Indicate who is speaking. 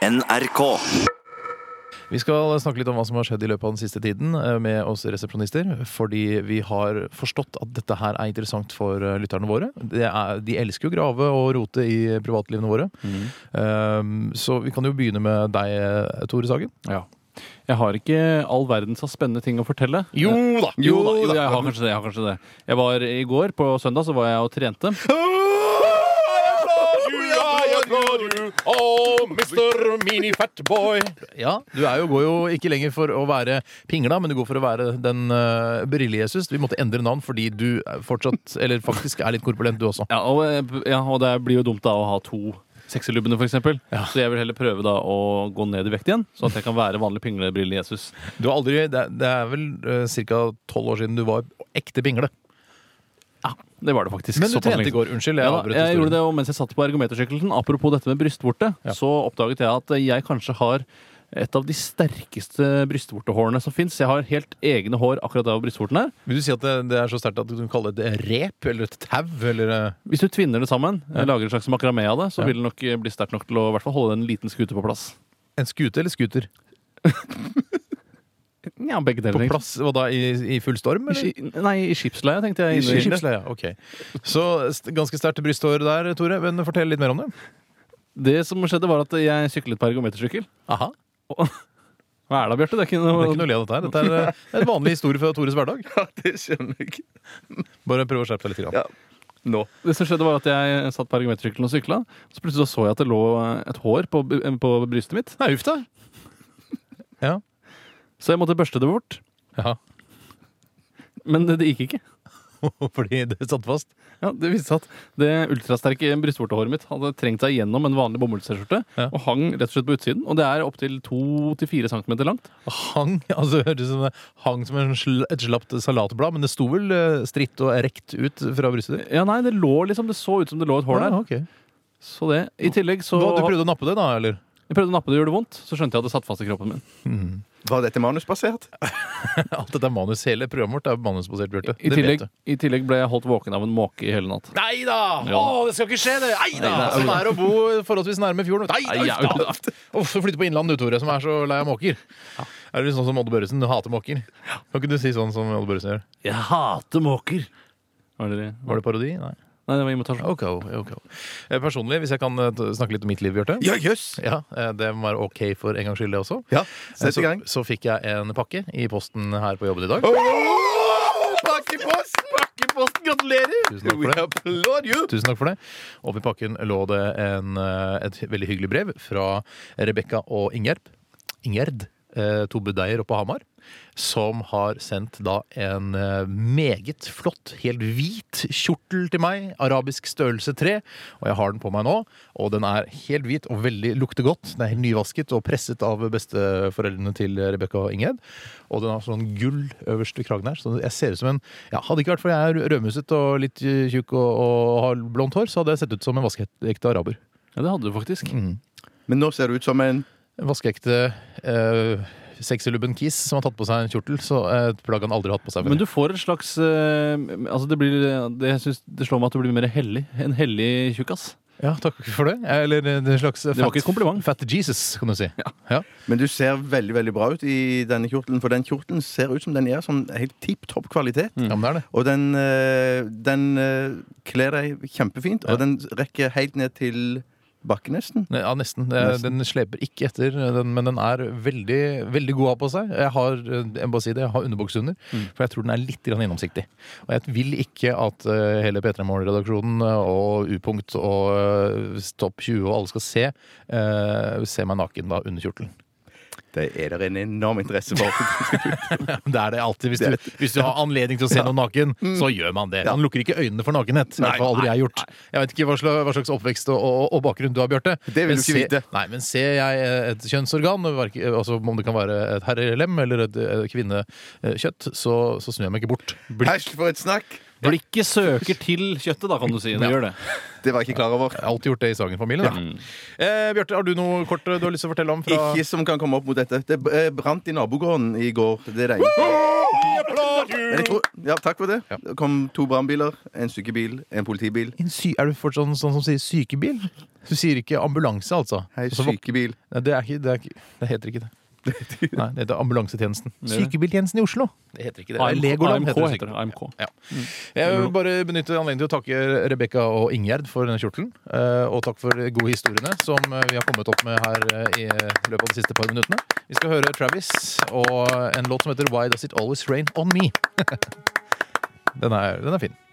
Speaker 1: NRK.
Speaker 2: Vi skal snakke litt om hva som har skjedd i løpet av den siste tiden eh, med oss resepsjonister. Fordi vi har forstått at dette her er interessant for eh, lytterne våre. Det er, de elsker jo å grave og rote i privatlivene våre. Eh, så vi kan jo begynne med deg, eh, Tore Sagen.
Speaker 3: Ja. Jeg har ikke all verdens av spennende ting å fortelle. Jo da! Jo, da, Jeg har kanskje det. Jeg har kanskje det. Jeg var I går, på søndag, så var jeg og trente.
Speaker 2: Ja, Du er jo, går jo ikke lenger for å være pingla, men du går for å være den uh, brille-Jesus. Vi måtte endre navn fordi du er fortsatt, eller faktisk er litt korpulent, du også.
Speaker 3: Ja, og, eh, ja, og det blir jo dumt da å ha to sexylubbene, f.eks. Så jeg vil heller prøve da å gå ned i vekt igjen, sånn at jeg kan være vanlig pinglebrille-Jesus.
Speaker 2: Du har aldri, Det er, det er vel uh, ca. tolv år siden du var ekte pingle.
Speaker 3: Ja, det var det faktisk.
Speaker 2: Men du
Speaker 3: Såpass lenge
Speaker 2: trente i går. Unnskyld. Jeg
Speaker 3: Ja,
Speaker 2: avbrøt
Speaker 3: jeg gjorde
Speaker 2: historien.
Speaker 3: det, og mens jeg satt på ergometersykkelsen, apropos dette med brystvorte, så oppdaget jeg at jeg kanskje har et av de sterkeste brystvortehårene som fins. Jeg har helt egne hår akkurat der hvor brystvorten er.
Speaker 2: Vil du si at det, det er så sterkt at du kan kalle det et rep eller et tau? Eller, eh,
Speaker 3: Hvis du tvinner det sammen, eh, lager et slags makramé av det, så
Speaker 2: Ja.
Speaker 3: vil det nok eh, bli sterkt nok til å i hvert fall holde en liten skute på plass.
Speaker 2: en skute eller scooter?
Speaker 3: Ja, begge deler.
Speaker 2: På
Speaker 3: egentlig.
Speaker 2: plass hva da, i, i full storm?
Speaker 3: I,
Speaker 2: Eller?
Speaker 3: ski- nei, i skipsleie, tenkte jeg. inne i-
Speaker 2: Skipsleia, ok. Så st- ganske sterkt brysthår der, Tore. Men fortell litt mer om det.
Speaker 3: Det som skjedde, var at jeg syklet på ergometersykkel.
Speaker 2: Aha.
Speaker 3: Hva er det, Bjarte? Det er ikke
Speaker 2: Det
Speaker 3: noe,
Speaker 2: er ikke noe å le av dette her. Dette er eh, en vanlig historie fra Tores hverdag.
Speaker 4: Ja, det skjønner jeg ikke.
Speaker 2: Bare prøv å skjerpe deg litt. Grann.
Speaker 4: Ja. Nå.
Speaker 3: Det som skjedde var at Jeg satt på ergometersykkelen og sykla. Så plutselig så, så jeg at det lå eh, et hår på, b- på brystet mitt.
Speaker 2: Nei, uff da. Ja.
Speaker 3: Så jeg måtte børste det bort.
Speaker 2: ja.
Speaker 3: Men det, det gikk ikke.
Speaker 2: Fordi det satt fast.
Speaker 3: Ja, det viste seg at det ultrasterke brystvortehåret mitt hadde trengt seg gjennom en vanlig bomullsskjorte
Speaker 2: Ja.
Speaker 3: og hang rett og slett på utsiden. Og det er opptil 2-4 cm langt.
Speaker 2: Hang altså det hørtes ut som det hang som en sl et slapt salatblad, men det sto vel eh, stritt og rekt ut fra brystet ditt?
Speaker 3: Ja, nei, det lå liksom Det så ut som det lå et hår der.
Speaker 2: Ja, ok.
Speaker 3: Så det I tillegg så
Speaker 2: Hva, Du prøvde å nappe det, da? eller?
Speaker 3: Jeg prøvde å nappe det, gjorde det vondt. Så skjønte jeg at det satt fast i kroppen min.
Speaker 4: Var dette manusbasert?
Speaker 2: Alt dette er manus. Hele programmet vårt er manusbasert, Bjarte.
Speaker 3: I tillegg, I tillegg ble jeg holdt våken av en måke i hele natt.
Speaker 2: Nei da!
Speaker 3: Ja.
Speaker 2: Å, det skal ikke skje, det! Nei da!
Speaker 3: Nei, nei.
Speaker 2: Sånn er det å bo forholdsvis nærme fjorden. Nei,
Speaker 3: Nei,
Speaker 2: da!
Speaker 3: ja,
Speaker 2: uff da. Uff, flytte på Innlandet, du, Tore, som er så lei av måker. Er du sånn som Odd Børresen? Du hater måker. Kan ikke du si sånn som Odd Børresen gjør?
Speaker 3: Jeg hater måker. Var det,
Speaker 2: Var det parodi? Nei.
Speaker 3: Nei, det var imitasjon.
Speaker 2: Ok, ok. Eh, Personlig, hvis jeg kan eh, t- snakke litt om mitt liv, Bjarte.
Speaker 4: Ja, jøss!
Speaker 2: Ja, eh, Det må være ok for en gangs skyld, det også.
Speaker 4: Ja,
Speaker 2: Eh,
Speaker 4: sett i gang.
Speaker 2: Så, så fikk jeg en pakke i posten her på jobben i dag.
Speaker 4: Åh, Pakkeposten! Pakkeposten, gratulerer!
Speaker 2: Tusen takk for
Speaker 4: We
Speaker 2: det.
Speaker 4: applaud you!
Speaker 2: Tusen takk for det. Oppi pakken lå det en, eh, et veldig hyggelig brev fra Rebekka og Ingjerd. Ingjerd, eh, to budeier oppe på Hamar, som har sendt da en eh, meget flott, helt hvit kjortel til meg. Arabisk størrelse 3. Og jeg har den på meg nå. Og den er helt hvit og veldig lukter godt. Den er helt nyvasket og presset av besteforeldrene til Rebekka og Ingjerd. Og den har sånn gull øverst ved kragen her. Så jeg ser ut som en ja, Hadde ikke vært fordi jeg er rødmuset og litt tjukk og, og har blondt hår, så hadde jeg sett ut som en vaskeekte araber.
Speaker 3: Ja, det hadde du faktisk.
Speaker 2: Mm.
Speaker 4: Men nå ser du ut som en
Speaker 2: En vaskeekte eh, sexylubben kis som har tatt på seg en kjortel. Så eh, et plagg han aldri har hatt på seg før.
Speaker 3: Men du får et slags eh, Altså, det blir det, jeg synes, det slår meg at du blir mer hellig. En hellig tjukkas.
Speaker 2: Ja, takk for det. Eller eh, en slags
Speaker 3: Det var ikke et kompliment.
Speaker 2: fat Jesus, kan du si. Ja.
Speaker 4: Men du ser veldig veldig bra ut i denne kjortelen, for den kjortelen ser ut som den er sånn helt tipp topp kvalitet.
Speaker 2: ja, men det er det.
Speaker 4: Og den, eh, den eh, kler deg kjempefint, og den rekker helt ned til bakken nesten.
Speaker 2: Ne- Ja, nesten. Det- Den sleper ikke etter, den, men den er veldig, veldig god å ha på seg. Jeg har eh, jeg må bare si det, jeg har underbukse under, for jeg tror den er litt grann gjennomsiktig. Og jeg vil ikke at eh, hele P3 Morgen-redaksjonen eh, og U-punkt og eh, Topp 20 og alle skal se, eh, se meg naken da under kjortelen.
Speaker 4: Det er det en enorm interesse for.
Speaker 2: Det er det alltid. Hvis du, hvis du har anledning til å se noen naken,
Speaker 4: Mm.
Speaker 2: så gjør man det. Man lukker ikke øynene for nakenhet. I hvert fall aldri jeg gjort. Jeg vet ikke hva slags, hva slags oppvekst og, og, og bakgrunn du har, Bjarte.
Speaker 4: vil
Speaker 2: Men
Speaker 4: du ikke
Speaker 2: se-
Speaker 4: vite.
Speaker 2: Nei, men ser jeg eh, et kjønnsorgan, verk- altså om det kan være et herrelem eller et eh, kvinnekjøtt, så, så snur jeg meg ikke bort.
Speaker 4: Æsj, for et snakk!
Speaker 3: Blikket søker til kjøttet, da, kan du si. Det
Speaker 2: Ja.
Speaker 3: gjør det.
Speaker 4: Det var jeg ikke klar over.
Speaker 2: Jeg har alltid gjort det i Sagen-familien. da. Eh, Bjarte, har du noe kort eh, du har lyst til å fortelle om? Fra
Speaker 4: Ikke som kan komme opp mot dette. Det eh, brant i nabogården i går. Det er det eneste. Men jeg tror, ja, takk for det.
Speaker 2: Ja.
Speaker 4: Det kom to brannbiler, en sykebil, en politibil.
Speaker 2: En sy er du fortsatt sånn, sånn som sier sykebil? Du sier ikke ambulanse, altså?
Speaker 4: Hei,
Speaker 2: Så-
Speaker 4: sykebil.
Speaker 2: Nei, det, er ikke, det, er ikke, det heter ikke det. Nei, det heter ambulansetjenesten. Sykebiltjenesten i Oslo. Det heter ikke det.
Speaker 3: AMK,
Speaker 2: Legoland
Speaker 3: AMK
Speaker 2: heter det.
Speaker 3: heter det.
Speaker 2: sikkert.
Speaker 3: AMK.
Speaker 2: Ja. Jeg vil bare benytte anledningen til å takke Rebekka og Ingjerd for denne kjortelen. eh, Og takk for de gode historiene som eh, vi har kommet opp med her eh, i løpet av de siste par minuttene. Vi skal høre Travis og en låt som heter Why Does It Always Rain On Me. Den er, den er fin.